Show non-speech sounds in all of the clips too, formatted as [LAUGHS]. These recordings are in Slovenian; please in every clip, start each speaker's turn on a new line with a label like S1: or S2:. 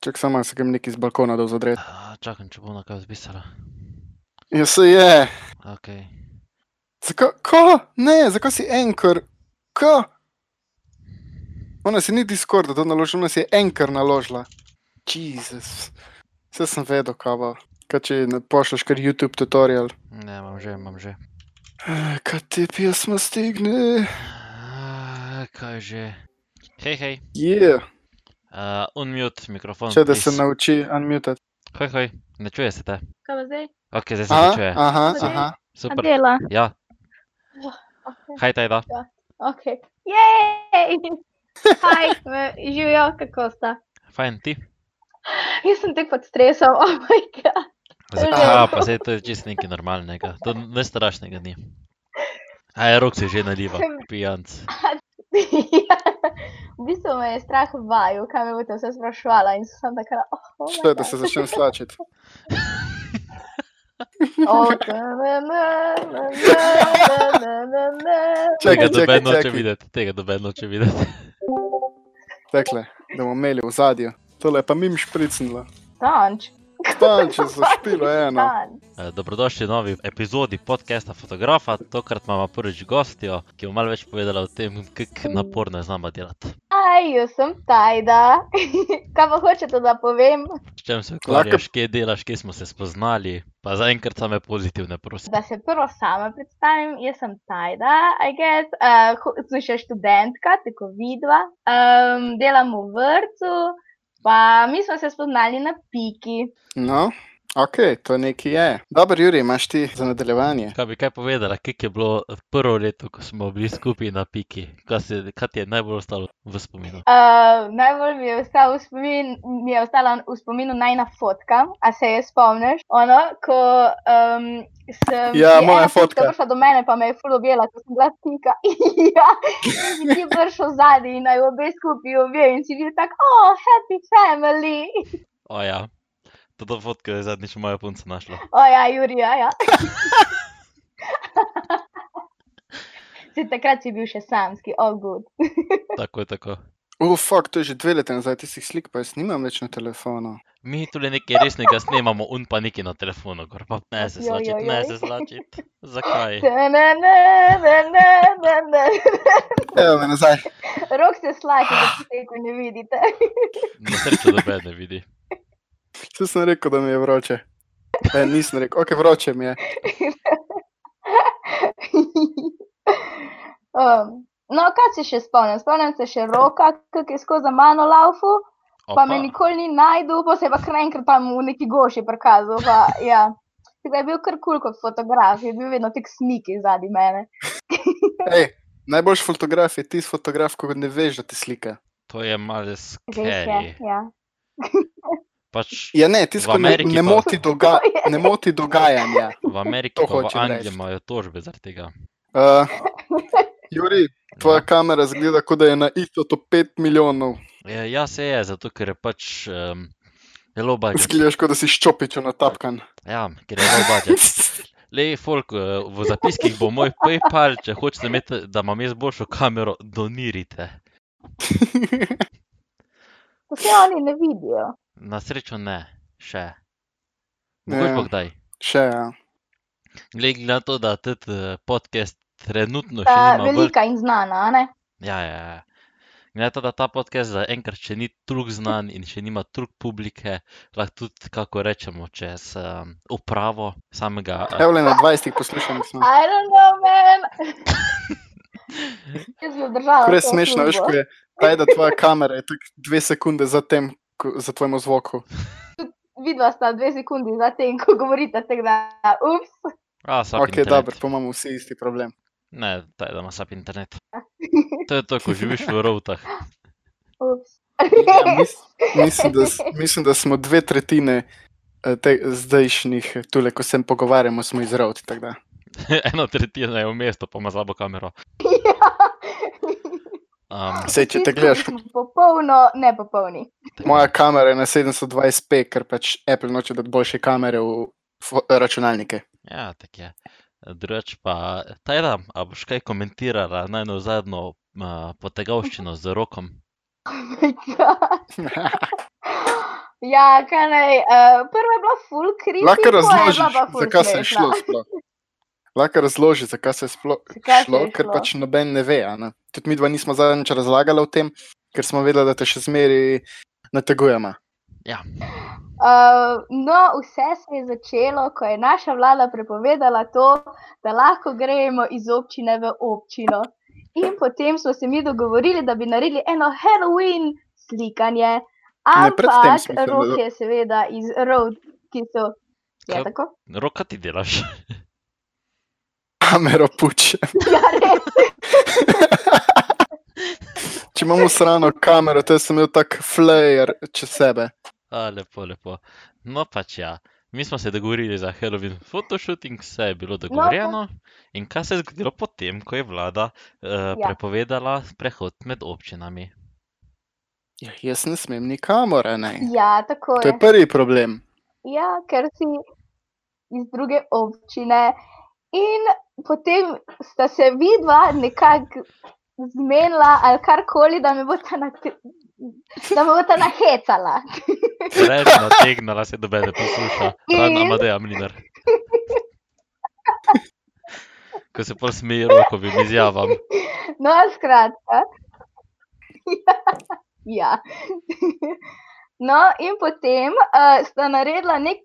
S1: Čak samo, se grem neki z balkona dol zadreti.
S2: A, Čakam, če bo ona kaj zbisala.
S1: Ja, se je.
S2: Okay.
S1: Zakaj? Ko? Ne, zakaj si enkor? Ko? Ona si ni Discorda to naložila, ona si je enkor naložila. Jezus. Vse sem vedel, kava. Kaj če ne pošlješ kar YouTube tutorial?
S2: Ne, imam že, imam že.
S1: Eh, Kaj ti pjesma stigne?
S2: A, Ah, kaj že? Hej, hej,
S1: Je, yeah.
S2: uh, unmute mikrofon.
S1: če da se
S2: please.
S1: nauči unmutat.
S2: Hej, hej, ne čuje se te.
S3: Kaj pa zdaj?
S2: Ok, zdaj se
S1: Aha,
S2: že čuje.
S1: aha,
S3: Zdaj.
S1: aha.
S3: A
S2: Super.
S3: dela.
S2: Ja,
S3: Okay.
S2: haj, taj da.
S3: okay. Jej! Haj, živijo, kako sta.
S2: Fajn, ti.
S3: Jaz sem tek pod stresom, [LAUGHS] oh moj bog.
S2: Zakaj?
S3: Že.
S2: Aha, pa zdaj to je čisto nekaj normalnega. To ne strašnega ni. A je rok se že naliva, pijanc.
S3: v bistvu me je strah vaju, kaj me boste vse sprašvala in sem takrat, oh, oh
S1: Šle, da se začnem slačiti. Čakaj,
S2: Tega
S1: čakaj,
S2: doben noče
S1: čakaj.
S2: videti, tega doben noče videti.
S1: Tekle, da bomo imeli v zadju. Tole je pa mim špricnila.
S3: Tanč.
S1: Tanče so špilo eno.
S2: Eh, Dobrodošli v novi epizodi podcasta Fotografa. Tokrat imamo prvič gostjo, ki bo malo več povedala o tem, kako naporno je z nama delati.
S3: Aj, jaz sem Tajda. [LAUGHS] Kaj pa hočete, da povem?
S2: S čem se
S1: Lahko-
S2: ukvarjaš, kje delaš, kje smo se spoznali, pa zaenkrat same pozitivne, prosim.
S3: Da se prvo sama predstavim, jaz sem Tajda, I guess, uh, sem še študentka, tako vidva, um, delam v vrtu, pa mi smo se spoznali na piki.
S1: No, ok, to nekaj je. Dobro, Juri, imaš ti za nadaljevanje.
S2: Kaj bi kaj povedala, kako je bilo prvo leto, ko smo bili skupaj na piki, kaj, se, kaj ti je najbolj ostalo v spominu?
S3: Uh, najbolj mi je, ostal v spomin, mi je ostala v spominu najna fotka, a se je spomniš, ono, ko um, sem
S1: Ja,
S3: je
S1: moja
S3: ena punčka
S1: fotka.
S3: prišla do mene, pa me je ful objela, ko sem bila pika. [LAUGHS] ja, in si ti prišel zadnji in naj obe skupaj objel in si bil tak, oh, happy family.
S2: O ja, to fotko je zadnjič moja punca našla.
S3: O ja, Jurija, ja. Se takrat si bil še samski, oh, good.
S2: Tako je tako.
S1: Uf, fuck, to je že dve leti nazaj, ti si slik, pa jaz nimam več na telefonu.
S2: Mi tudi nekaj resnega snemamo, un pa nekaj na telefonu, gor pa ne se
S3: Joj, joj,
S2: slačiti, ne
S3: joj.
S2: se slačiti. Zakaj?
S1: Evo me nazaj.
S3: Rok se slači, da se tega ne vidite. [LAUGHS]
S2: Na srečo dobe ne vidi.
S1: Vse sem rekel, da mi je vroče. E, nisem rekel, ok, vroče mi je.
S3: um, no, kaj se še spomnim? Spomnim se še roka, ki je skozi za mano laufu, pa me
S2: Opa,
S3: nikoli ni najdel, pa se je pa kar naenkrat tam v neki goši prikazal. Pa, ja. Tako da je bil kar kul kot fotograf, je bil vedno tik sniki zadnji mene.
S1: Ej, najboljši fotograf je tisti fotograf, ko ne veš, da ti slika.
S2: to je malo
S3: Res
S2: scary.
S3: je. Ja.
S2: Pač
S1: Ja, ne, tisti,
S2: V
S1: ko ne,
S2: Ameriki
S1: ne,
S2: pa-
S1: moti [LAUGHS] doga, ne moti dogajanja.
S2: v Ameriki,
S1: To
S2: pa v
S1: hočem reči.
S2: Angliji imajo tožbe zaradi tega.
S1: Uh, Juri, tvoja
S2: No.
S1: kamera zgleda, kot da je na isto to 5 milijonov.
S2: Ja, ja, se je, zato ker je pač um, je low budget.
S1: Zgledaš, kot da si ščopičo
S2: [LAUGHS]
S1: natapkan.
S2: Ja, ker je low budget. Lej, folk, eh, v zapiskih bo moj PayPal, če hočete imeti, da imam jaz boljšo kamero, donirite.
S3: To se oni ne vidijo.
S2: Na srečo ne, še.
S1: Ja.
S2: Mogoče bo kdaj.
S1: Še, ja.
S2: Glej, Glede na to, da tudi eh, podcast trenutno še
S3: Ta
S2: nima vrh.
S3: velika in znana, a ne?
S2: Ja, ja, ja. Glede na to, da ta podcast zaenkrat še ni trug znan in še nima trug publike, lahko tudi, kako rečemo, čez um, upravo samega. eh,
S1: Evo, le na 20 poslušanjih smo.
S3: I don't know,
S1: [LAUGHS]
S3: man. Jaz bi obdržala.
S1: Kore
S3: to
S1: smešno, veš, ko
S3: službo.
S1: je taj, da tvoja kamera je tako dve sekunde za tem, ko, za tvojemu zvoku.
S3: Vidva sta dve sekundi za tem, ko govorite, tako da, ups.
S2: A, sap
S1: Ok,
S2: internet.
S1: dobro, pa imamo vsi isti problem.
S2: Ne, taj, da ima sap internet. To je to, ko živiš v rovtah. [LAUGHS]
S3: ups.
S1: Ja,
S3: [LAUGHS]
S1: mis, mislim, da, s- mislim, da smo dve tretjine eh, te, zdajšnjih, eh, tule, ko se pogovarjamo, smo iz rovt. tako da.
S2: Eno tretjino je v mestu, pa ima slabo kamero. Um,
S1: Sej, če te gledaš,
S3: Popolno nepopolni. [LAUGHS]
S1: moja kamera je na 720p, ker pač Apple noče dati boljše kamere v fo- računalnike. [LAUGHS]
S2: ja, tako je. Drugač pa, taj da, a boš kaj komentirala najno zadnjo uh, potegavščino z rokom?
S3: Oh my God. Ja, kaj naj. Uh, prva je bila full kriza.
S1: Lahko razložiš, zakaj se je šlo sploh. Lahko razložiš, zakaj se je sploh
S3: Zakaj se je
S1: šlo, ker
S3: šlo?
S1: pač noben ne ve. a Ne? Tudi mi dva nismo zadnjič razlagali o tem, ker smo vedeli, da te še zmeri nategujemo.
S3: Uh, no, vse se je začelo, ko je naša vlada prepovedala to, da lahko gremo iz občine v občino. In potem smo se mi dogovorili, da bi naredili eno Halloween slikanje.
S1: predtem
S3: Ampak
S1: smo se
S3: rok
S1: dogo-
S3: je seveda iz road, ki so. Je
S2: Kaj?
S3: tako? [LAUGHS]
S2: Roka ti delaš.
S1: Kamero puče.
S3: Ja, res.
S1: [LAUGHS] Če imamo srano kamero, to sem imel tak flair čez sebe.
S2: A, lepo, lepo. No pač ja. Mi smo se dogovorili za Halloween photoshooting, vse je bilo dogovorjeno. In kaj se je zgodilo potem, ko je vlada uh, ja. prepovedala prehod med občinami?
S1: Ja, jaz ne smem nikamor, a ne.
S3: ja, tako
S1: To
S3: je.
S1: je prvi problem.
S3: Ja, ker si iz druge občine. In potem sta se vidva nekako zmenila ali karkoli, da me boste na. Da me boste nahecala.
S2: Preveč nategnala se dobe ne posluša, ravno
S3: In-
S2: Amadeja Mlinar. Ko se pol smeji rokovim izjavam.
S3: No, skratka. [LAUGHS] Ja. No, in potem uh, sta naredila nek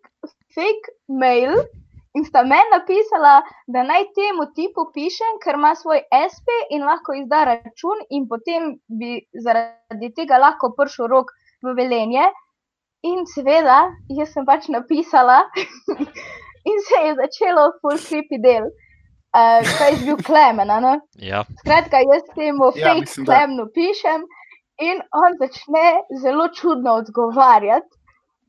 S3: fake mail in sta meni napisala, da naj temu tipu pišem, ker ima svoj SP in lahko izda račun, in potem bi zaradi tega lahko prišel rok v velenje. In seveda, jaz sem pač napisala, [LAUGHS] in se je začelo full creepy del. Uh, kaj je bil Klemen, a ne?
S2: Ja,
S3: Skratka, jaz temu
S1: Ja,
S3: fake
S1: mislim, da.
S3: klemnu pišem in on začne zelo čudno odgovarjati.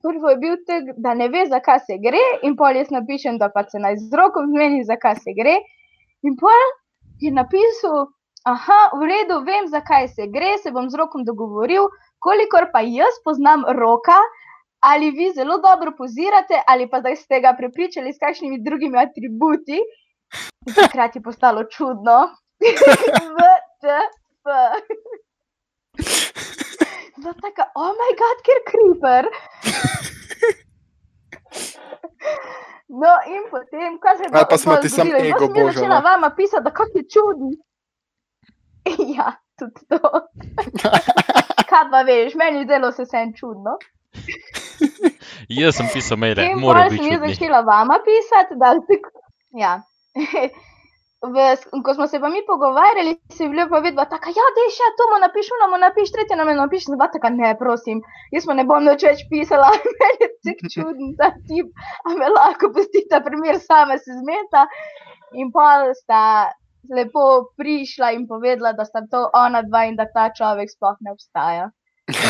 S3: Prvo je bil tek, da ne ve, zakaj se gre, in pol jaz napišem, da pa se naj z rokom zmeni, zakaj se gre. In pol je napisal, aha, v redu, vem, zakaj se gre, se bom z rokom dogovoril, kolikor pa jaz poznam roka. Ali vi zelo dobro pozirate, ali pa zdaj ste ga prepričali s kakšnimi drugimi atributi. In takrat je postalo čudno. VTF. Zdaj tako, oh moj bog, ker kriper. No, in potem, ko se
S1: Ali pa smo
S3: pol
S1: ti samo
S3: zgodilo, in pol
S1: ego no.
S3: sem jaz začela
S1: božala.
S3: vama pisati, da kako je čuden. Ja, tudi to.
S1: [LAUGHS]
S3: Kaj pa veš, meni je delo se vsem čudno.
S2: jaz sem pisal maile,
S3: In
S2: mora
S3: pol
S2: biti
S3: sem jaz
S2: čudni.
S3: začela vama pisati, da ste. Ja. [LAUGHS] V, s- ko smo se pa mi pogovarjali, se je bilo povedva, da ja, dej še to mu napiš, ono mu napiš, tretje nam je napiš, zba tako ne, prosim, jaz mu ne bom nič več pisala, [LAUGHS] meni je tako čuden ta tip, a me lahko pustite primer, sama se zmeta. In pa sta lepo prišla in povedala, da sta to ona dva in da ta človek sploh ne obstaja.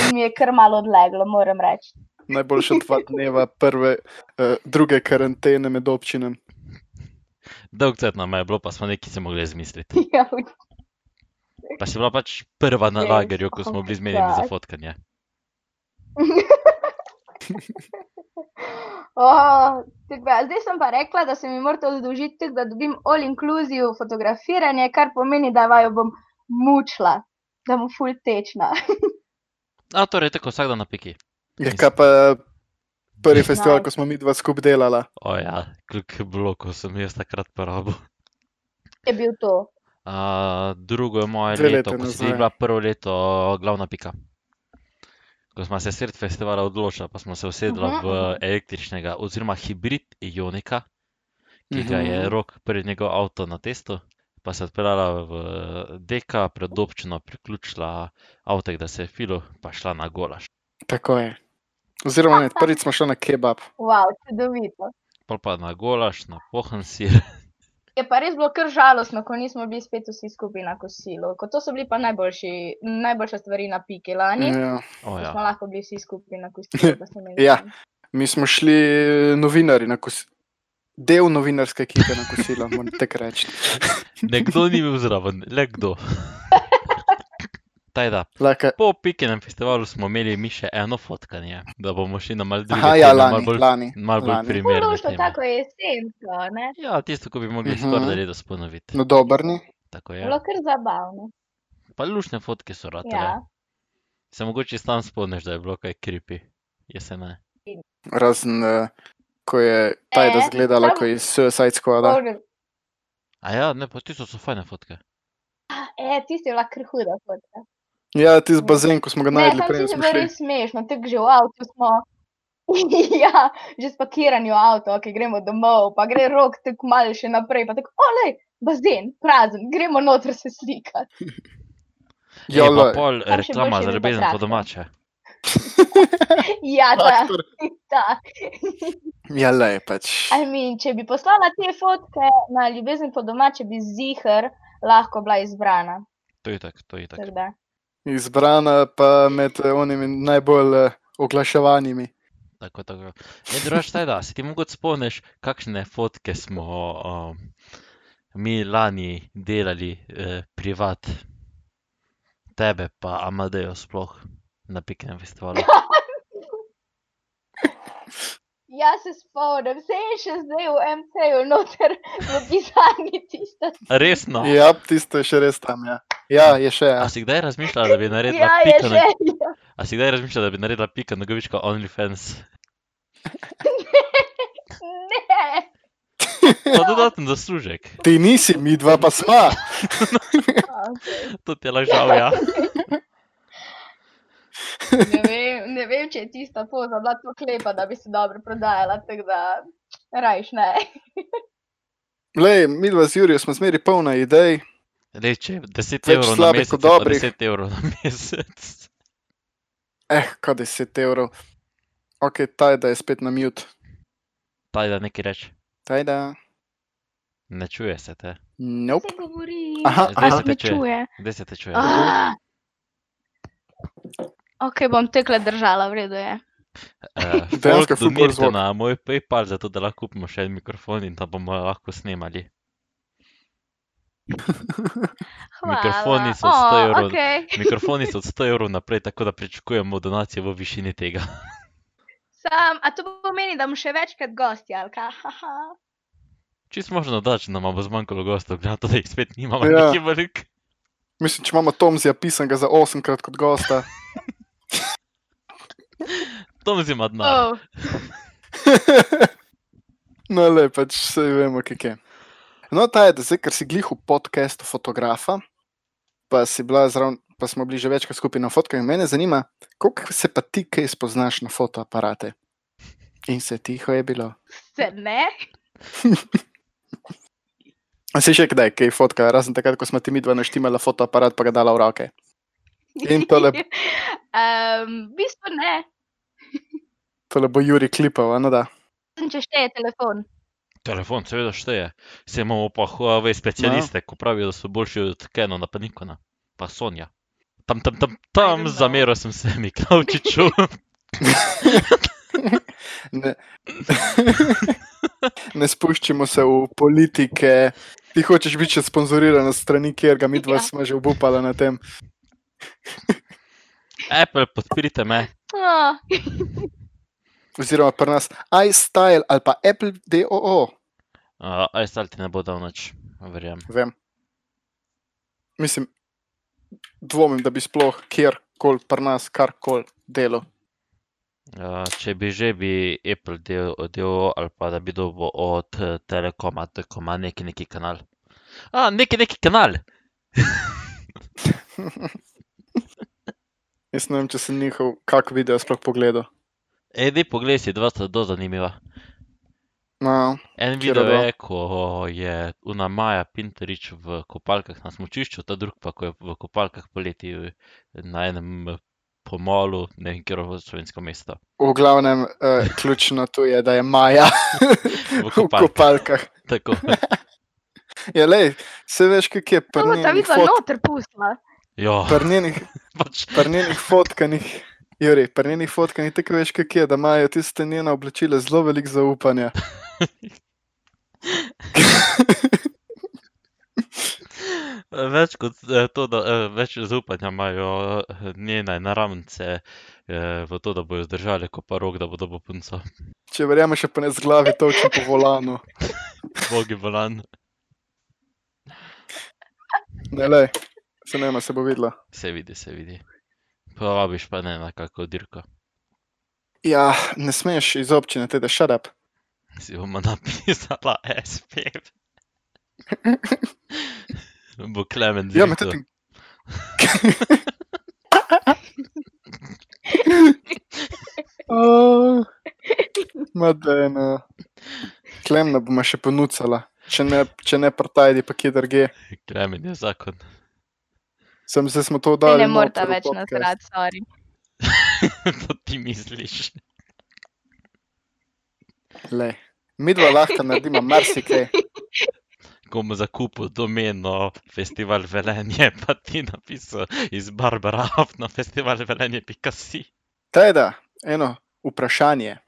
S3: In mi je kar malo odleglo, moram reči. [LAUGHS]
S1: Najboljša dva dneva prve, eh, druge karantene med občinami.
S2: Dolg cajt nam je bilo, pa smo neki se mogli izmisliti.
S3: Ja, v
S2: Pa si bila pač prva na
S3: Res,
S2: lagerju, ko smo bili zmenjeni za
S3: fuck.
S2: fotkanje.
S3: Oh, zdaj sem pa rekla, da se mi morate odložiti, tako da dobim all-inclusive fotografiranje, kar pomeni, da vaju bom mučila, da bom full tečna.
S2: A torej tako vsak dan na piki.
S1: Je Ja, kaj pa prvi festival, ko smo mi dva skupaj delala.
S2: O ja, koliko blokov sem jaz takrat porabil.
S3: Je bil to.
S2: A, drugo je moje
S1: Dve
S2: leto,
S1: leti
S2: ko si
S1: nazaj.
S2: bila prvo leto glavna pika. Ko smo se sred festivala odločili, pa smo se usedla
S3: Mhm.
S2: v električnega oziroma hibrid Ionika, ki ga je
S1: Mhm.
S2: rok pred njegov avto na testu, pa se odpeljala v Deka, pred občino priključila avto, da se je filo, pa šla na Golaš.
S1: Tako je. Oziroma, ne, prvič smo šli na kebab.
S3: Wow, čudovito.
S2: Pol pa na Golaš, na Pohansir.
S3: Je pa res bilo kar žalostno, ko nismo bili spet vsi skupaj na kosilu. Ko to so bili pa najboljši, najboljše stvari na piki lani. Mm,
S1: Ja.
S2: O
S3: ja.
S2: ja.
S3: Smo lahko bili vsi skupaj na kosilu. da so imeli
S1: Ja.
S3: fajn.
S1: Mi smo šli novinari na kosilo. Del novinarske ekipe na kosilo, moram tako reči.
S2: Nekdo ni bil zraven, le [LAUGHS] kdo. Taj da,
S1: Laka,
S2: Po pikinem festivalu smo imeli mi še eno fotkanje, da bomo šli na malce
S1: aha, ja, lani,
S2: malo bolj,
S1: lani.
S2: mal bolj
S1: lani.
S2: primerne.
S3: Luško,
S2: teme.
S3: tako je jesensko, ne?
S2: Ja, tisto, ko bi mogli
S1: Mhm.
S2: skoraj letos ponoviti.
S1: No, dober ni.
S2: Tako je.
S3: Bilo kar zabavno.
S2: Pa lušne fotke so ratale.
S3: Ja.
S2: Se mogoče sam spomniš, da je bilo kaj kripi. Jaz se ne.
S1: Razen, eh, ko je Tajda
S3: E,
S1: zgledala,
S3: dobro.
S1: ko je iz Suicide Squada.
S3: Bože,
S2: A ja, ne, pa tisto so fajne fotke.
S3: E, tisti je bila krhuda fotka.
S1: Ja, ti z bazen, ko smo ga
S3: Ne,
S1: najdli,
S3: tam
S1: prej
S3: si že
S1: smo
S3: bilo
S1: šli.
S3: res smešno, tako že v avtu smo. [LAUGHS] ja, že spakiran je avto, ki gremo domov, pa gre rok tako malo še naprej, pa tako, olej, bazen, prazen, gremo noter se [LAUGHS] slikati.
S2: Ja,
S1: Jolo,
S2: pa pol
S3: Tam še
S2: reklama
S3: boljše
S2: za
S3: je
S2: ljubezen po
S3: traktor.
S2: domače.
S3: Ja, ta,
S1: traktor.
S3: ta.
S1: Jolo je pač.
S3: I mean, če bi poslala te fotke na ljubezen po domače, bi zihar lahko bila izbrana.
S2: To je tako, to je tako.
S3: Tako da,
S1: Izbrana pa med eh, onimi najbolj eh, oglaševanimi.
S2: Tako, tako. Ne, drugače, taj da, se ti mogoče spomniš, kakšne fotke smo um, mi lani delali eh, privat. Tebe pa Amadejo sploh na piknem
S3: [LAUGHS]
S2: festivalu.
S3: jaz se spomnim, se je še zdaj v MC-ju [LAUGHS] noter v pisarni tista.
S2: Resno.
S1: Ja, tisto je še res tam, ja. Ja, je še.
S2: A
S1: Ja.
S2: si kdaj razmišljala, da bi naredila
S3: Ja, je
S2: piko na,
S3: že. [LAUGHS]
S2: a si kdaj razmišljala, da bi naredila piko na govička OnlyFans?
S3: Ne.
S2: Pa dodaten zaslužek.
S1: Ti nisi, mi dva pa sva.
S2: To ti je lažal, ja.
S3: Ne vem, ne vem, če je tista poza bila tako lepa, da bi se dobro prodajala, tako da rajš ne.
S1: Glej, mi dva z Jurijo smo smeri polna idej.
S2: Reče, 10
S1: Več
S2: evrov na
S1: slabih
S2: mesec.
S1: kot
S2: je pa
S1: dobrih.
S2: 10 evrov na [LAUGHS] mesec.
S1: Eh, kaj 10 evrov. Ok, Tajda je spet na mute.
S2: Taj da neki reč.
S1: Tajda.
S2: Ne čuje se te.
S1: Nope.
S3: Se govori.
S1: Aha,
S2: Zdaj
S3: A
S1: aha. Ja,
S2: se
S3: se me
S2: te čuje.
S3: čuje?
S2: Kdaj se te čuje?
S3: Ah. Ok, bom tekle držala, v redu je.
S2: Eh,
S1: Dejansko
S2: folk
S1: ful bolj
S2: Donirajte
S1: zvok.
S2: na moj PayPal, zato da lahko kupimo še en mikrofon in tam bomo lahko snemali.
S3: Hvala.
S2: Mikrofoni so
S3: O,
S2: sto evrov.
S3: okej.
S2: Mikrofoni so od 100 evrov naprej, tako da pričakujemo donacije v višini tega.
S3: Sam, a to pomeni, da bom še večkrat gostja, ali kaj? Haha.
S2: Čist možno da, če nam bo zmanjkalo gostov, glede na to, da jih spet nimamo
S1: Ja.
S2: ja. nekaj velik.
S1: Mislim, če imamo Tomzija pisanega za 8krat kot gosta. [LAUGHS]
S2: Tom zima dna. Oh.
S3: Oh,
S1: No, le pač vse vemo, kak je. No, ta je, da zdaj, ker si glih v podkastu fotografa, pa, si bila zraven, pa smo bili že večkrat skupaj na fotkah, in mene zanima, koliko se pa ti kaj spoznaš na fotoaparate. In se tiho je bilo.
S3: se ne?
S1: A si še kdaj kaj fotka, razen takrat, ko smo ti mi dva naštimala fotoaparat, pa ga dala v roke. In
S3: [LAUGHS]
S1: tole-
S3: um, v bistvu ne,
S1: Tole bo Juri klipal, a no da.
S3: Razen če šteje telefon.
S2: Telefon seveda šteje. Se imamo pa Huawei specialiste, no. ko pravijo, da so boljši od Kenona, pa Nikona, pa Sonja. Tam, tam, tam, tam
S3: know.
S2: zameral sem se [LAUGHS] Miklaučiču.
S1: Ne, ne spuščimo se v politike. Ti hočeš biti še sponzoriran s strani, kjer ga mi dva
S3: Ja.
S1: smo že obupala na tem.
S2: Apple, podprite me.
S3: Oh,
S1: oziroma pri nas iStyle ali pa Apple DOO.
S2: Uh, Aj, stal ti ne bo dal nič, verjamem.
S1: Vem. Mislim, dvomim, da bi sploh kjerkoli pri nas karkoli delo.
S2: Ja, če bi že bi Apple del, del ali pa da bi dobil od eh, Telekoma, tako ima neki neki kanal. A, neki neki kanal!
S1: Jaz ne vem, če sem njihov kak video sploh pogledal.
S2: Edi, poglej si, dva sta do zanimiva.
S1: No,
S2: En
S1: Katera
S2: video
S1: dva?
S2: je, ko je Una Maja Pinterič v kopalkah na smučišču, ta drug pa, ko je v kopalkah poleti v- na enem eh, pomolu, ne vem, kjer v slovensko mesto.
S1: v glavnem, eh, ključno tu je, da je Maja
S2: V
S1: [LAUGHS] v
S2: kopalkah,
S1: kopalkah.
S2: tako.
S1: Ja, lej, se veš, kak je
S3: to
S1: pri
S3: bo ta
S1: njenih,
S3: vidva
S1: fot,
S3: noter pustila.
S1: [LAUGHS]
S2: Ja,
S1: pri njenih,
S2: pač.
S1: pri njenih fotkanih. Juri, pri njenih fotkanjih tako veš, kak je, da imajo tiste njena oblačila zelo veliko zaupanja.
S2: Več kot eh, to, da eh, več zaupanja imajo eh, njene naramnice eh, v to, da bojo zdržali, ko pa rok, da bodo bo punco. [LAUGHS]
S1: Če verjamem, še pa ne z glavi točem po volanu.
S2: Bogi bolan.
S1: Ne, le, se ne, se bo videla.
S2: Se vidi, se vidi. Povabiš pa ne na kako dirko.
S1: Ja, ne smeš iz občine, teda shut up.
S2: Si bomo napisala [LAUGHS] SPF. Bo Klemen
S1: Ja, me
S2: zrihtal.
S1: [LAUGHS] tudi. Oh, Madena. Klemna bo me še ponucala, če ne, če ne partajdi, pa kje drugje.
S2: Klemen je zakon. [LAUGHS]
S1: Sem se smo to
S3: Ne,
S1: dali.
S3: ne
S1: noter
S3: morete
S1: v
S3: več
S1: podcast.
S3: nasrati, sorry.
S2: to ti misliš.
S1: Glej, Midva lahko naredimo marsikaj.
S2: Komu zakupil domeno festival Velenje, pa ti napisal iz Barbara Huff na festival Velenje Pikasi.
S1: Teda, eno vprašanje.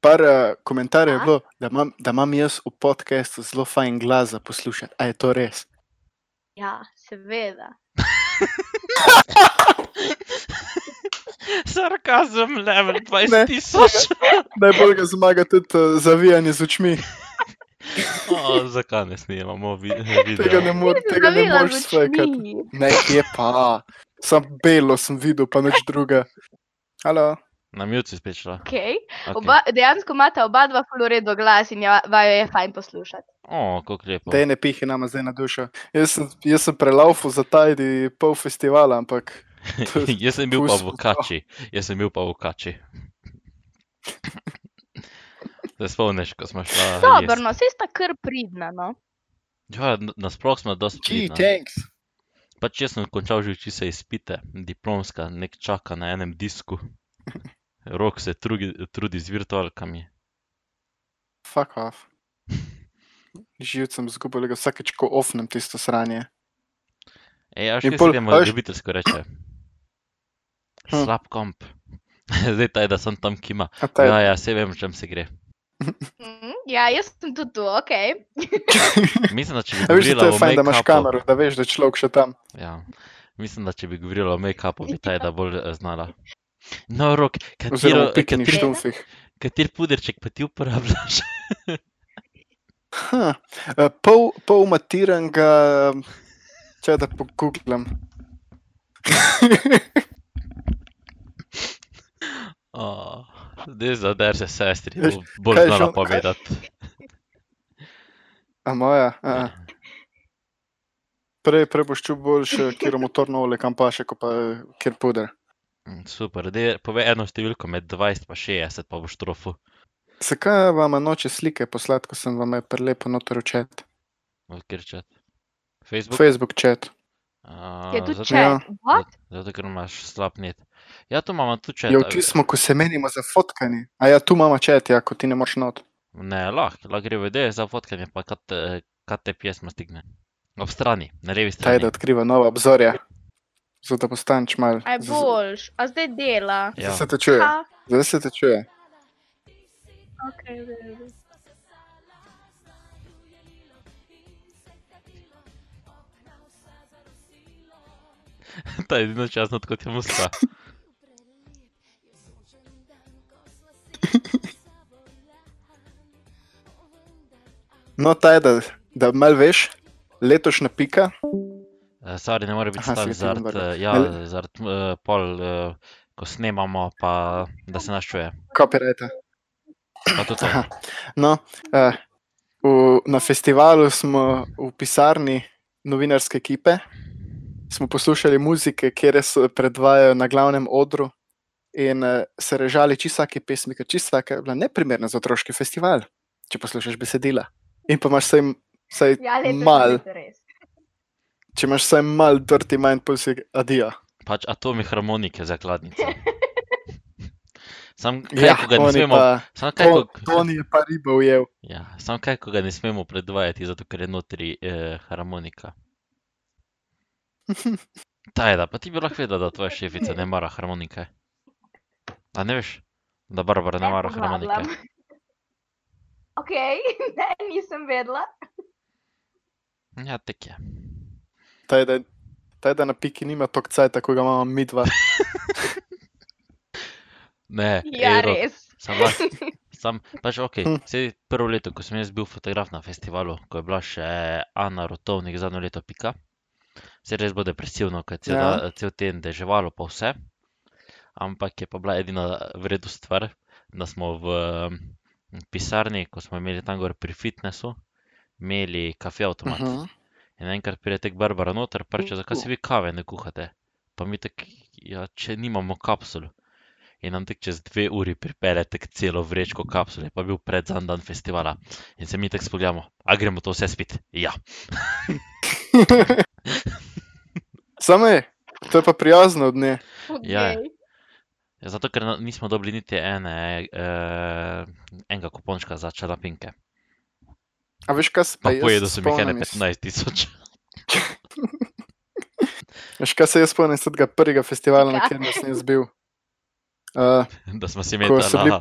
S1: Par uh, komentarjev je bilo, da imam, da imam jaz v podkastu zelo fajn glas za poslušati. A je to res?
S3: [LAUGHS] Ja, seveda.
S2: [LAUGHS] Sarkazem level 20
S1: Ne. [LAUGHS]
S2: tisoč.
S1: Najbolj ga zmaga tudi uh, zavijanje z očmi.
S2: O, No, zakaj ne snemamo vi-
S1: Tega ne,
S2: videa?
S1: mo tega ne
S3: Zavila
S1: moreš
S3: z
S1: svekati.
S3: očmi.
S1: Ne, je pa. Sam belo sem videl, pa nič druga. Halo.
S2: Na mjuci spet šla.
S3: Okej.
S2: Okay.
S3: Oba, dejansko imata oba dva fluoredo glas in ja- vaju je fajn poslušati.
S2: O, kako lepo. [LAUGHS]
S1: Te ne pihi nama zdaj na dušo. Jaz sem, jaz sem prelaufal za tajdi pol festivala, ampak to je
S2: Jaz sem bil pa
S1: Pustimo
S2: v
S1: to.
S2: kači, jaz sem bil pa v kači. [LAUGHS] Se spomniš, ko smo šli na
S3: Sobrno, vsi no, sta kar pridna, no.
S2: Ja, n- nasploh smo dosti
S1: Gee,
S2: pridna.
S1: thanks.
S2: Pač jaz sem končal že čisto izpite, diplomska, nek čaka na enem
S1: [LAUGHS]
S2: disku. Rok se trugi, trudi z virtualkami.
S1: Fuck off. Živce sem zgubil, ga vsakeč ko ofnem tisto sranje.
S2: Ej, až
S1: In
S2: kaj
S1: pol-
S2: se temu
S1: a veš-
S2: ljubiteljsko reče?
S1: Hm.
S2: Slab komp. Zdaj taj, da sem tam kima.
S1: A taj,
S2: Ja, ja, se vem, o čem se gre.
S3: Mhm, Ja, jaz sem tudi tu, ok.
S2: Mislim, da če
S1: [LAUGHS]
S2: bi
S1: a Ja, veš, da to
S2: govorila
S1: je
S2: o
S1: fajn, da imaš
S2: make-upu,
S1: kamero, da veš, da je človek še tam.
S2: Ja. Mislim, da če bi govorila o make-upu, bi taj da bolj eh, znala. No, rok,
S1: Oziroma
S2: katero,
S1: v piknih
S2: kater,
S3: štup.
S1: štumfih.
S2: kater puderček pa ti uporabljaš? [LAUGHS]
S1: Huh. eh, Pol, pol matiranga, če da poguglam.
S2: Oh, zdaj zadar se sestri,
S1: Veš,
S2: bo bolj
S1: kaj je
S2: znala
S1: žal-
S2: povedati.
S1: A moja?
S2: Ja.
S1: A. Prej, prej boš čutil
S2: [LAUGHS]
S1: boljše, kjer je motorno olje, kam pa še, ko pa eh, kjer puder.
S2: Mm, Super, dej, povej eno številko med 20 in 60, pa boš trofil.
S1: Zakaj vam noče slike poslati, ko sem vam je prelepo notor v čat?
S2: Ker čat. Facebook.
S1: Facebook čat.
S2: A,
S3: Je tudi
S2: zato-
S1: Ja.
S3: če. What?
S2: Zato, ker imaš slab net. Ja, tu imamo tudi čat.
S1: Ja,
S2: a
S1: tu
S2: ve-
S1: smo, ko se menimo za fotkanje. A ja, tu imamo čat, ja, ko ti ne moreš not.
S2: Ne, lahko, lahko gre v ideje za fotkanje, pa kad, eh, kad te pjesma stigne. Ob strani, na levi
S1: Taj,
S2: strani.
S1: da odkriva nova obzorja. Zato da postaneš mal.
S3: Aj boljš, a zdaj dela.
S1: Zdaj
S2: Ja. [LAUGHS]
S1: se te čuje,
S3: Ha,
S1: zdaj se te čuje.
S3: okej, v redu.
S2: Ta je edino časno, kot
S1: [LAUGHS]
S2: je muska.
S1: No, taj, da, da mal veš, letošnja pika,
S2: Stvari Eh, ne more biti
S1: Aha,
S2: tam
S1: si ga ti
S2: zaradi,
S1: navrgel.
S2: eh, ja,
S1: Ali-
S2: zaradi eh, pol, eh, ko snemamo, pa da se nas čuje.
S1: copyrighta.
S2: Pa tudi to.
S1: Aha. No, eh, v, na festivalu smo v pisarni novinarske ekipe, smo poslušali muzike, kjer se predvajajo na glavnem odru in eh, se režali čistake pesmi, ker čistaka je bila neprimerna za otroški festival, če poslušaš besedila. In pa imaš vsaj, vsaj
S3: Ja, letos je
S1: mal,
S3: to res.
S1: če imaš vsaj mal dirty mind, pa si adijo.
S2: Pač atomi harmonike
S1: [LAUGHS]
S2: zakladnice. Sam kaj,
S1: Ja,
S2: ko ga ne
S1: oni
S2: smemo,
S1: pa,
S2: sam kaj,
S1: to,
S2: ko,
S1: Toni je pa riba ujel.
S2: ja, sam kaj, ko ga ne smemo predvajati, zato ker je notri eh, harmonika. Tajda, pa ti bi lahko vedela, da tvoja šefica ne mara harmonike. A ne veš, da Barbara ne
S3: Ne
S2: mara
S3: pozabljam.
S2: harmonike.
S3: Ok, [LAUGHS] ne, nisem vedela.
S2: Ja, tek je.
S1: Taj, da, taj, da na piki nima tok cajta, ko ga imamo midva.
S2: Ne,
S3: Ja,
S2: Eero,
S3: res.
S2: Sam, [LAUGHS] lahko- sam pač ok.
S1: Hm.
S2: Vse prvo leto, ko sem jaz bil fotograf na festivalu, ko je bila še Ana Rotovnik zadnjo leto pika, se res bo depresivno, ker cel,
S1: Ja.
S2: ja. cel teden deževalo pa vse, ampak je pa bila edina vredna stvar, da smo v em, pisarni, ko smo imeli tam gor pri fitnessu, imeli kafe avtomat.
S1: Mhm.
S2: Uh -huh. In enkrat pride tek Barbara noter, pa reče, zakaj si vi kave ne kuhate? Pa mi tako, ja, če nimamo kapsul. In nam tek čez dve uri pripelje tek celo vrečko kapsul, je pa bil predzan dan festivala. In se mi tek spogledamo, a gremo to vse spit? Ja.
S1: Samo je, to je pa prijazno od nje.
S2: Ja,
S3: Okej.
S2: Ja, Zato, ker na- nismo dobili niti ene, eh, enega kupončka za čelapinke.
S1: A veš, kaj se
S2: Pa
S1: jaz
S2: pojedo sem jih ene
S1: spomnim iz-
S2: 15 tisoč. [LAUGHS]
S1: Veš, kaj se jaz spomnim iz tega prvega festivala, na
S3: Ja.
S1: katerem sem jaz bil? Uh,
S2: Da smo si
S1: Ko so bili-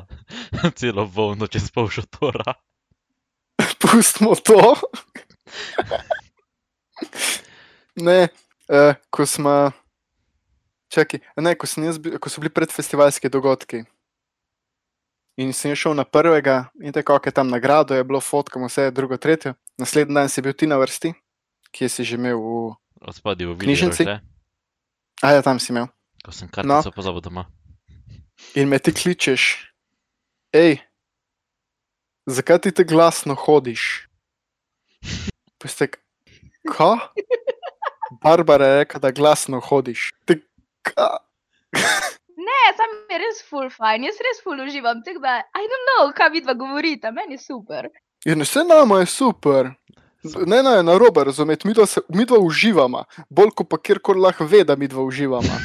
S2: imeli [LAUGHS] celo volno čez pol šotora.
S1: [LAUGHS] pustimo to. [LAUGHS] ne, uh, ko smo. Čakaj, a ne, ko, sem jaz, bil- ko so bili predfestivalski dogodki. In sem jaz šel na prvega, in tako, kaj tam nagrado je bilo, fotkamo vse, drugo, tretje. Naslednji dan si bil ti na vrsti, ki si že imel v.
S2: Od spodaj v
S1: Knjižnici?
S2: videu,
S1: Aja, tam si imel.
S2: ko sem kartico no. pozabil doma.
S1: In me ti kličeš, hej, zakaj ti tako glasno hodiš? Pustek, ko? Barbara je rekla, da glasno hodiš. Te, ka?
S3: Ne, sam je res full fajn, jaz res full uživam, tako da, I don't know, kaj vidva govorita, meni je super.
S1: In vse nama je super. Z- Ne, ne, na robe razumeti, mi dva, se, mi dva uživamo, bolj kot pa kjerkoli lahko ve, da mi dva uživamo.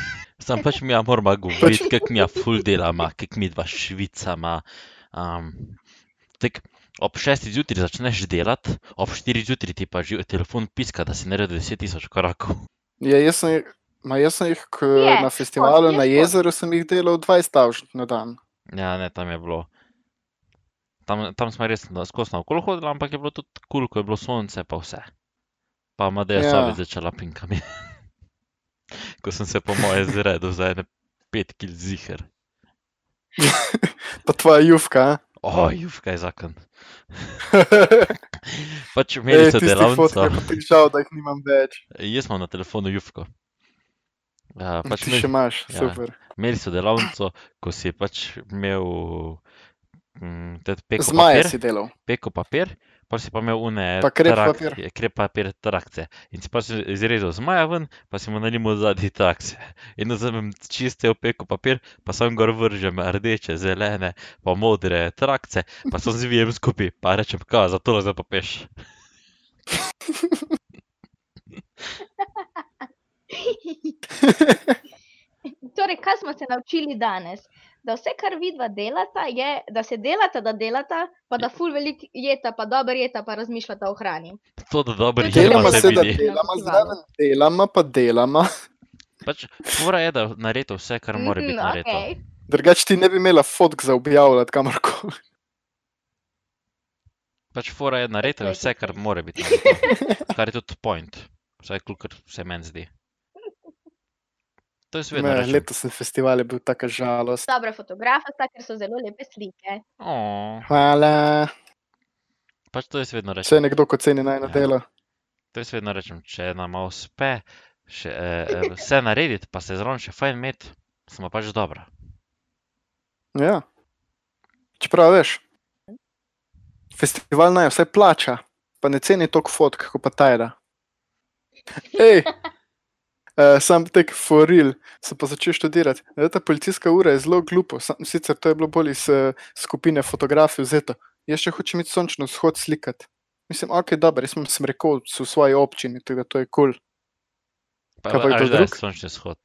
S2: Sam pač mi ja moramo govoriti, kak mi ja ful delamo, kak mi dva švicama. Um, tak, ob šestih zjutraj začneš delati, ob štirih zjutraj ti pa že telefon piska, da si naredil 10 tisoč korakov.
S1: Ja, jaz sem, jih- ma jaz sem jih k,
S3: Je,
S1: na festivalu,
S3: je
S1: na
S3: šport.
S1: jezeru sem jih delal 20 tavžd na dan.
S2: Ja, ne, tam je bilo. Tam, tam smo res na- skozi naokol hodili, ampak je bilo tudi kul, cool, ko je bilo sonce, pa vse. Pa Madeja
S1: Ja.
S2: ja. Savič začela pinkami. [LAUGHS] ko sem se po moje zredel za ene pet kil zihar.
S1: Pa tvoja jufka.
S2: Oj, uf, kaj zakon.
S1: a? [LAUGHS]
S2: Pač imeli so
S1: fotke,
S2: delavnico.
S1: pa ti žal, da jih nimam več.
S2: Eh, Jaz imam na telefonu Jufko. Ja,
S1: Pač
S2: pač
S1: ti še
S2: imeli,
S1: imaš, ja.
S2: ja.
S1: super.
S2: imeli so delavnico, ko si pač imel mm, te peko
S1: Zmaje
S2: papir,
S1: si delal.
S2: peko papir, pa si pa imel une
S1: Pa krep
S2: trak-
S1: papir.
S2: je, krep papir trakce. In si pa si izrezal zmaja ven, pa si mu nalimo zadnji trakce. [LAUGHS] In vzamem čiste peko papir, pa sem gor vržem rdeče, zelene, pa modre trakce, pa sem zvijem skupaj, pa rečem, ka, za to zdaj pa peš.
S3: Torej, kaj smo se naučili danes? Da vse, kar vidva delata, je, da se delata, da delata, pa da ful veliko jeta, pa dobro jeta, pa razmišljata o hrani.
S2: [LAUGHS] To, da dobro
S3: Delamo
S1: Delamo
S2: jema,
S3: se
S1: se, da
S2: vidi.
S1: delamo, zraven delamo, pa delamo.
S2: Pač, mora je, da naredi vse, kar mora biti
S3: Mhm,
S2: narejeno.
S3: okej.
S1: Drugač ti ne bi imela fotk za objavljati kamorkoli.
S2: Pač, fora je naredi
S3: Okej,
S2: vse, kar
S3: okej.
S2: mora biti narejeno. Kar je tudi point. Vsaj, kolikor se meni zdi. To je
S1: Ne,
S2: svet.
S1: Letos na festivalu je bil taka žalost.
S3: Dobra fotografata, ker so zelo lepe slike.
S1: Hvala.
S2: Pač to je svet rečeno.
S1: Če je nekdo, ko ceni najno
S2: Ja.
S1: delo.
S2: To jaz vedno rečem, če nam uspe še, eh, eh, vse narediti, pa se zraven še fajn imeti, smo pač dobro.
S1: Ja. Čeprav veš, festival naj vse plača, pa ne ceni toliko fotk, kot pa Tajda. Ej, uh, sam tek foril, sem pa začel študirati. E, ta policijska ura je zelo glupo, sam, sicer to je bilo bolj iz uh, skupine fotografij vzeto. Jaz še hočem imeti sončno vzhod slikati. Mislim, ok, dobro, jaz sem, sem rekel v svoji občini, tako da to je kul. Cool.
S2: Pa,
S1: Kaj pa
S2: a
S1: kdo
S2: veš, da je
S1: drug?
S2: sončni shod.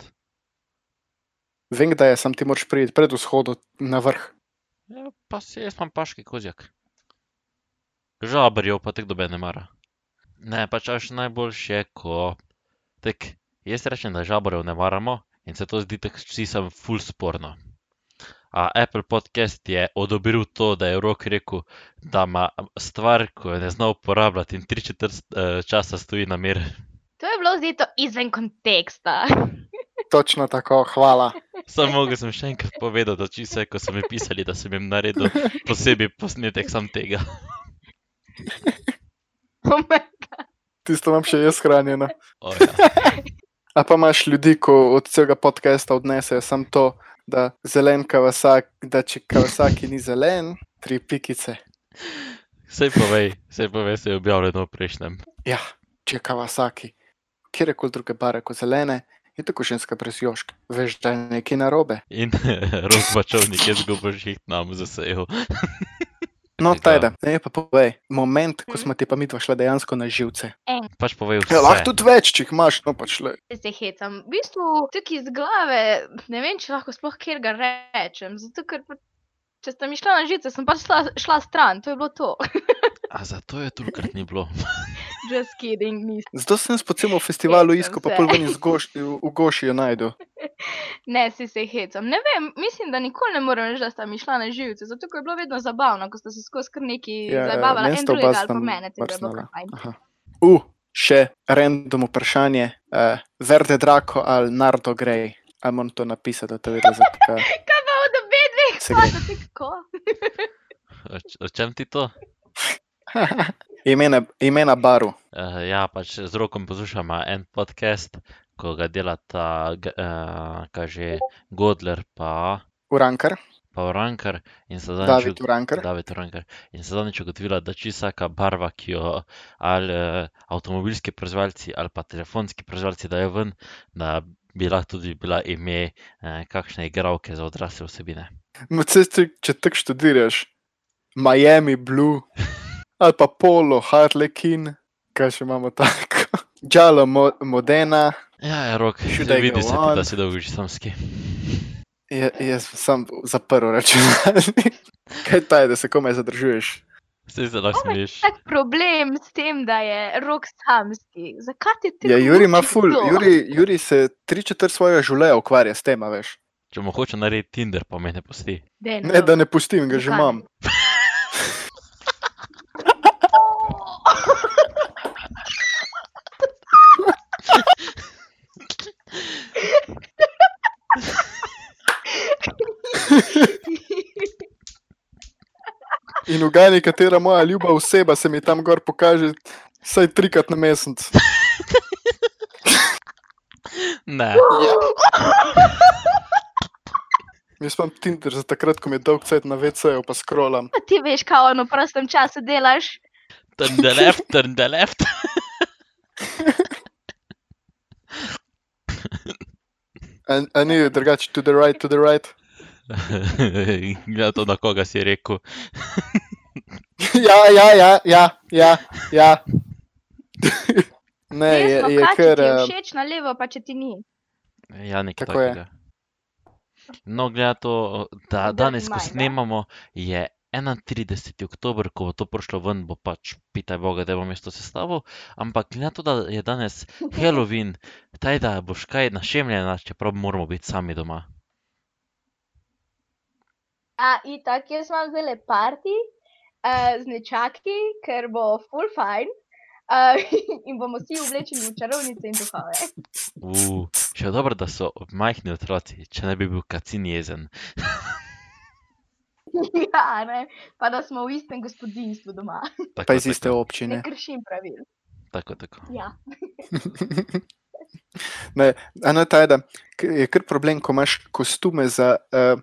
S1: Vem, da je, sam ti moraš priti pred vzhodom na vrh.
S2: Ja, pa si jaz imam paški kozjak. Žabarjev pa tek dobe ne mara. Ne, pač až najboljše je, ko. Tek, jaz rečem, da žabarjev ne maramo in se to zdi tako vsi sem full sporno. A Apple podcast je odobril to, da je Rok rekel, da ima stvar, ko jo ne zna uporabljati in tri četrt eh, časa stoji na mir.
S3: To je bilo vzeto izven konteksta. [LAUGHS]
S1: Točno tako, hvala.
S2: [LAUGHS] Samo mogel sem še enkrat povedati, da čisto, ko so mi pisali, da sem jim naredil posebej posnetek sam tega.
S3: Oh my
S1: Tisto imam še jaz hranjeno.
S2: O, ja.
S1: A pa imaš ljudi, ko od celega podcasta odnesejo samo to, da zelen Kawasaki, da če Kawasaki ni zelen, tri pikice.
S2: Sej povej, sej povej, se je objavljeno v prejšnjem.
S1: Ja, če Kawasaki, kjerkoli druge bare kot zelene, je tako ženska brez jošk. Veš, da je nekaj narobe.
S2: In [LAUGHS] rozbačovnik je zgubil žiht nam zasejal.
S1: No,
S2: Ja.
S1: tajda, ne pa povej, moment, ko smo ti pa mi dva šla dejansko na živce.
S2: Pač povej vse.
S1: Ja, lahko tudi več, če jih imaš, no pač le.
S3: Jaz se hecam. V bistvu tako iz glave, ne vem, če lahko sploh kjer ga rečem. Zato, ker pa, če sem išla na žice, sem pač šla, šla stran, to je bilo to.
S2: A zato je trikrat ni bilo.
S3: [LAUGHS] Just kidding, nisem.
S1: Zato sem jaz po celem festivalu
S3: Hecam
S1: iskal, pa
S3: se.
S1: pol ven iz goš- v Gošijo najdu.
S3: Ne, si se hecam. Ne vem, mislim, da nikoli ne morem reči, da sta mi šla na živce. Zato, ker je bilo vedno zabavno, ko sta se skozi kar neki
S1: Ja, ja,
S3: ja, zabavala,
S1: meni
S3: en
S1: sta oba
S3: drugega ali
S1: sta
S3: pa mene, to je bilo
S1: mrznala.
S3: kar fajn.
S1: Aha. U, še random vprašanje. Uh, Verde Draco ali Nardo Grey? Ali moram to napisati, da te vedno zakaj
S3: Kaj pa od obe dveh,
S1: se
S3: pa
S1: gre? [LAUGHS]
S3: to tako.
S2: O č- O čem ti to?
S1: Imena, imena baru.
S2: Uh, ja, pač z rokom poslušam en podcast, ko ga delata, uh, kaže Godler pa,
S1: Urankar,
S2: pa Orankar in se zadnjič
S1: David Urankar.
S2: David Urankar. In se zadnjič ugotovila, da čisto vsaka barva, ki jo ali eh, avtomobilski proizvajalci ali pa telefonski proizvajalci dajo ven, da bi lahko tudi bila ime eh, kakšne igralke za odrasle osebine.
S1: No, Če, če, če tako študiraš, Miami Blue ali pa Polo, Harlequin, kaj še imamo tako. [LAUGHS] Džalo Mo Modena,
S2: Ja, ja rok,
S1: Should
S2: že
S1: I
S2: vidi
S1: go
S2: se, ti, da
S1: on?
S2: si dolgo že samski. [LAUGHS]
S1: je, jaz sem zaprl računalnik. [LAUGHS] Kaj ta je, da se komaj zadržuješ?
S2: Vse se lahko
S3: Oh my
S2: smeješ.
S3: Tak problem s tem, da je rok samski. Zakaj ti ti?
S1: Ja, Juri ima ful, Juri, Juri se tri četrt svojega življenja ukvarja s tem, a veš.
S2: Če mu hoče narediti Tinder, pa me ne pusti.
S1: Ne,
S3: no.
S1: da ne pustim, ga že
S3: Zakaj?
S1: imam. In ugani, katera moja ljuba oseba se mi tam gor pokaže, vsaj trikrat na mesec.
S2: Ne,
S1: Jaz imam Tinder za takrat, ko mi je dolg cajt na VC-ju, pa skrolam.
S3: Ti veš, kaj ono v prostem času delaš.
S2: turn the left, turn the [LAUGHS] left.
S1: A a ni drugače, to the right, to the right.
S2: Gleda Ja, to, na koga si rekel.
S1: [LAUGHS] ja, ja, ja, ja, ja. ja. ne, je,
S3: Desno,
S1: je
S3: kaj, če
S1: kar.
S3: ti je
S1: eh,
S3: všeč na levo, pa če ti ni.
S2: Ja, nekaj
S1: Tako je.
S2: takega. No, gleda to, da
S3: Kdaj
S2: danes, ko
S3: maj, da?
S2: snemamo, je 31. oktober, ko bo to prišlo ven, bo pač pitaj Boga, da bo mesto sestavo. Ampak gleda to, da je danes Halloween, taj da boš kaj našemljena, čeprav moramo biti sami doma.
S3: A, itak, jaz imam zdaj le parti uh, z nečaki, ker bo full fajn. Uh, [LAUGHS] in bomo vsi oblečeni v čarovnice in duhove.
S2: Uu, še dobro, da so majhni otroci, če ne bi bil kacin jezen.
S3: [LAUGHS] ja, ne? Pa da smo v istem gospodinstvu doma.
S1: Pa
S2: Tako,
S1: iz iste
S2: tako,
S3: Ne
S1: občine.
S3: kršim pravil.
S2: tako, tako.
S3: Ja.
S1: ne, ena tajda no, k- je kar problem, ko imaš kostume za uh,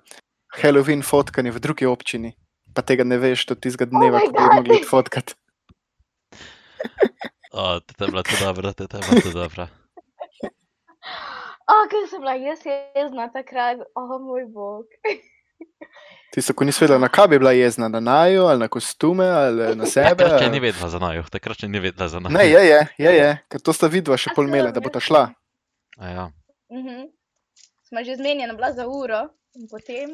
S1: Halloween fotkanje v drugi občini, pa tega ne veš do tistega dneva,
S3: Oh my
S1: ko bi
S3: God!
S1: mogli iti fotkat.
S2: O, teta je bila to dobra, teta je bila to dobra.
S3: O, ker sem bila jaz jezna takrat, o oh, moj bog.
S1: Tisto, ko nisi vedela, na kaj bi bila jezna, na najo ali na kostume ali eh, na sebe.
S2: Takrat Ja, še ni
S1: ali-
S2: vedela za naju, takrat še ni vedela za naju.
S1: Ne, je, je, je, je, ker to sta vidva še
S3: A
S1: pol
S3: so
S1: mele, da bo ta šla.
S2: A Ja.
S3: Mhm. Sva že zmenjena bila za uro in potem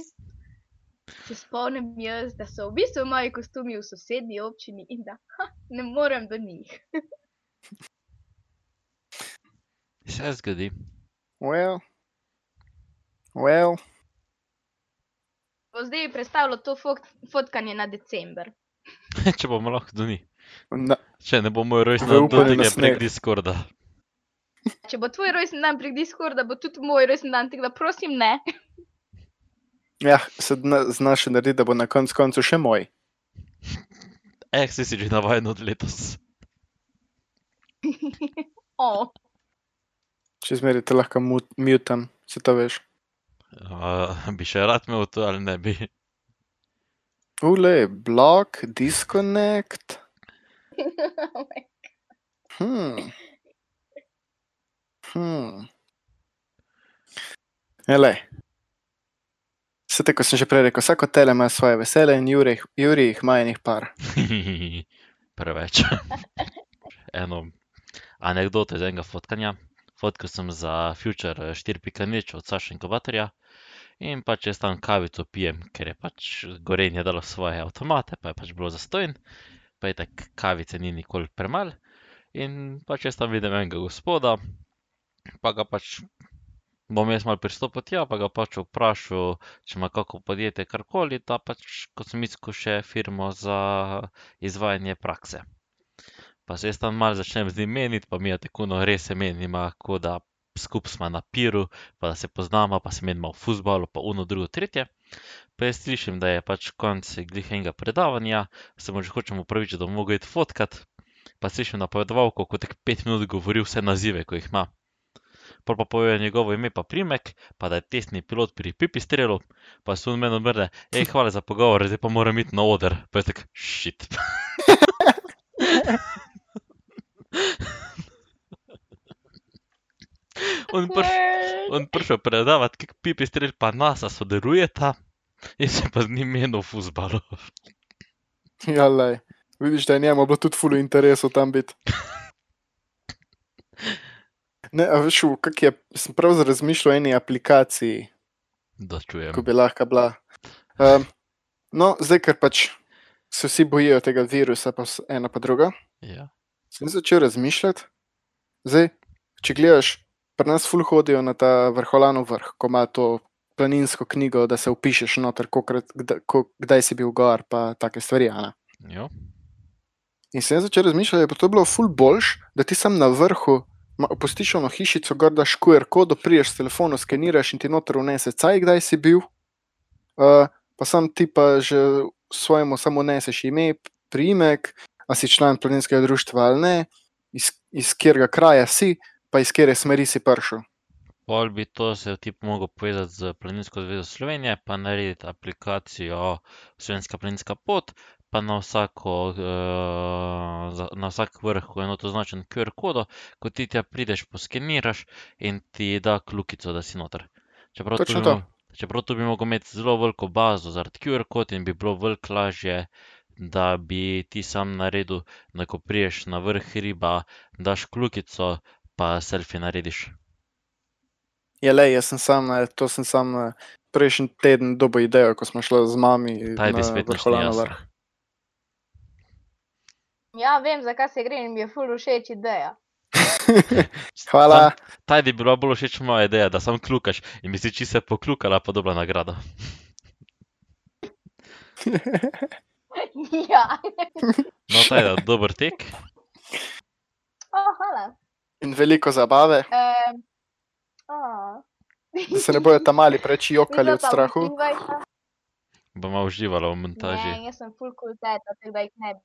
S3: se spomnim jaz, da so v bistvu moji kostumi v sosednji občini in da ha, ne morem do njih.
S2: Se zgodi.
S1: Well, well.
S3: Bo zdaj predstavilo to fot fotkanje na december.
S2: [LAUGHS] Če bomo lahko do njih.
S1: Na,
S2: Če ne bo moj rojstni
S1: V
S2: dan,
S1: upanju
S2: tudi
S1: na
S2: je prek
S1: sneg.
S2: Discorda.
S3: Če bo tvoj rojstni dan prek Discorda, bo tudi moj rojstni dan, tako da prosim ne. [LAUGHS]
S1: ja, se dna- zna še narediti, da bo na koncu koncu še moj.
S2: Eh, si si že navajen od letos.
S3: O,
S1: Če zmeraj te lahko mu- mutam, se to veš.
S2: Uh, bi še rad imel to ali ne bi.
S1: Ule, blok, disconnect.
S4: Oh my-
S1: Hmm. Hmm. Ele. Vse tako sem že prej rekel, vsako tele ima svoje vesele in Juri, Juri jih ima enih par.
S2: [LAUGHS] Preveč. Eno anegdoto iz enega fotkanja. Fotkal sem za Future eh, 4.0 od Saša Inkubatorja in pač jaz tam kavico pijem, ker je pač gorenje dalo svoje avtomate, pa je pač bilo zastojn, pa je tak kavice ni nikoli premal. In pač jaz tam vidim enega gospoda, pa ga pač bom jaz mal pristopil tja, pa ga pač vprašal, če ima kako podjetje karkoli, ta pač kot sem izkušal firmo za izvajanje prakse. Pa se jaz tam malo začnem z njim meniti, pa mi je tako, no res se menimo, kot da skupaj smo na piru, pa da se poznamo, pa se menimo v futbalu, pa uno, drugo, tretje. Pa jaz slišim, da je pač konec glihenega predavanja, se mu že hočem upravičiti, da bom mogel iti fotkat. Pa slišim napovedovalko, ko tek pet minut govori vse nazive, ko jih ima. Pol pa povejo njegovo ime pa primek, pa da je testni pilot pri Pipistrelu, pa se on meni obrne, hej, hvala za pogovor, zdaj pa moram iti na oder. Pa je tak, šit. on pač prš,
S4: Nerd.
S2: on prišel predavati, kako Pipistrel pa NASA sodelujeta, jaz se pa z njim menil v fusbalu. [LAUGHS]
S1: [LAUGHS] Ja, lej. Vidiš, da je njemu bilo tudi fulu interesu tam biti. Ne, a veš, v kak je, sem prav razmišljal o eni aplikaciji,
S2: Da čujem.
S1: ko bi lahko bila. Um, no, zdaj, ker pač se vsi bojijo tega virusa, pa vs- ena pa druga,
S2: Ja.
S1: sem začel razmišljati. Zdaj, če gledaš, pri nas ful hodijo na ta vrholano vrh, ko ima to planinsko knjigo, da se upišeš noter, kokrat, kdaj, kdaj si bil gor, pa take stvari. a Ne?
S2: Jo.
S1: In sem jaz začel razmišljati, da bi to bilo ful boljš, da ti sam na vrhu ma- opustiš ono hišico, gor daš QR kodo, priješ s telefonom, skeniraš in ti noter unese, caj kdaj si bil. Uh, pa sam ti pa že svojemu samo uneseš ime, priimek, a si član planinskega društva ali ne, iz, iz katerega kraja si, pa iz katere smeri si prišel.
S2: Pol bi to se ti mogel povezati z Planinsko zvezo Slovenije, pa narediti aplikacijo Slovenska planinska pot, pa na, vsako, eh, za- na vsak vrh v enoto označen QR kodo, ko ti tja prideš, poskeniraš in ti da kljukico, da si noter. Čeprav to, bi
S1: Točno to.
S2: mo- čeprav to bi mogel imeti zelo veliko bazo zaradi QR kod in bi bilo veliko lažje, da bi ti sam naredil, da ko priješ na vrh hriba, daš kljukico, pa selfie narediš.
S1: Je le, Ja, jaz sem sam, eh, to sem sam eh, prejšnji teden dobil idejo, ko smo šli z mami
S2: Taj bi
S1: na
S2: spet našli
S1: vrholano
S2: jasno.
S1: vrh.
S3: Ja, vem, zakaj se gre in mi je ful všeč ideja. [LAUGHS]
S1: Hvala.
S2: Sam, taj bi bila bolj všeč moja ideja, da sam klukaš in bi si čisto poklukala, pa dobila nagrado.
S3: ja,
S2: No, taj je [LAUGHS] dober tek.
S3: oh, hvala.
S1: [LAUGHS] In veliko zabave.
S3: Um, oh.
S1: da se ne bojo tam mali preveč jokali od strahu.
S2: Bomo uživala v
S3: Ne,
S2: montaži.
S3: jaz sem ful kul teta, tako da jih ne bi.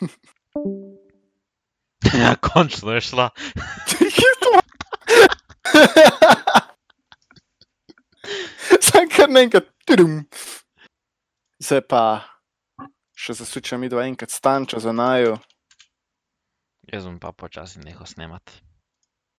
S2: [LAUGHS] Ja, končno je šla.
S1: [LAUGHS] Sam kar naenkrat. tudum. Zdaj pa še zasučam mi dva enkrat stanča za naju.
S2: Jaz bom pa počasi nehal snemati.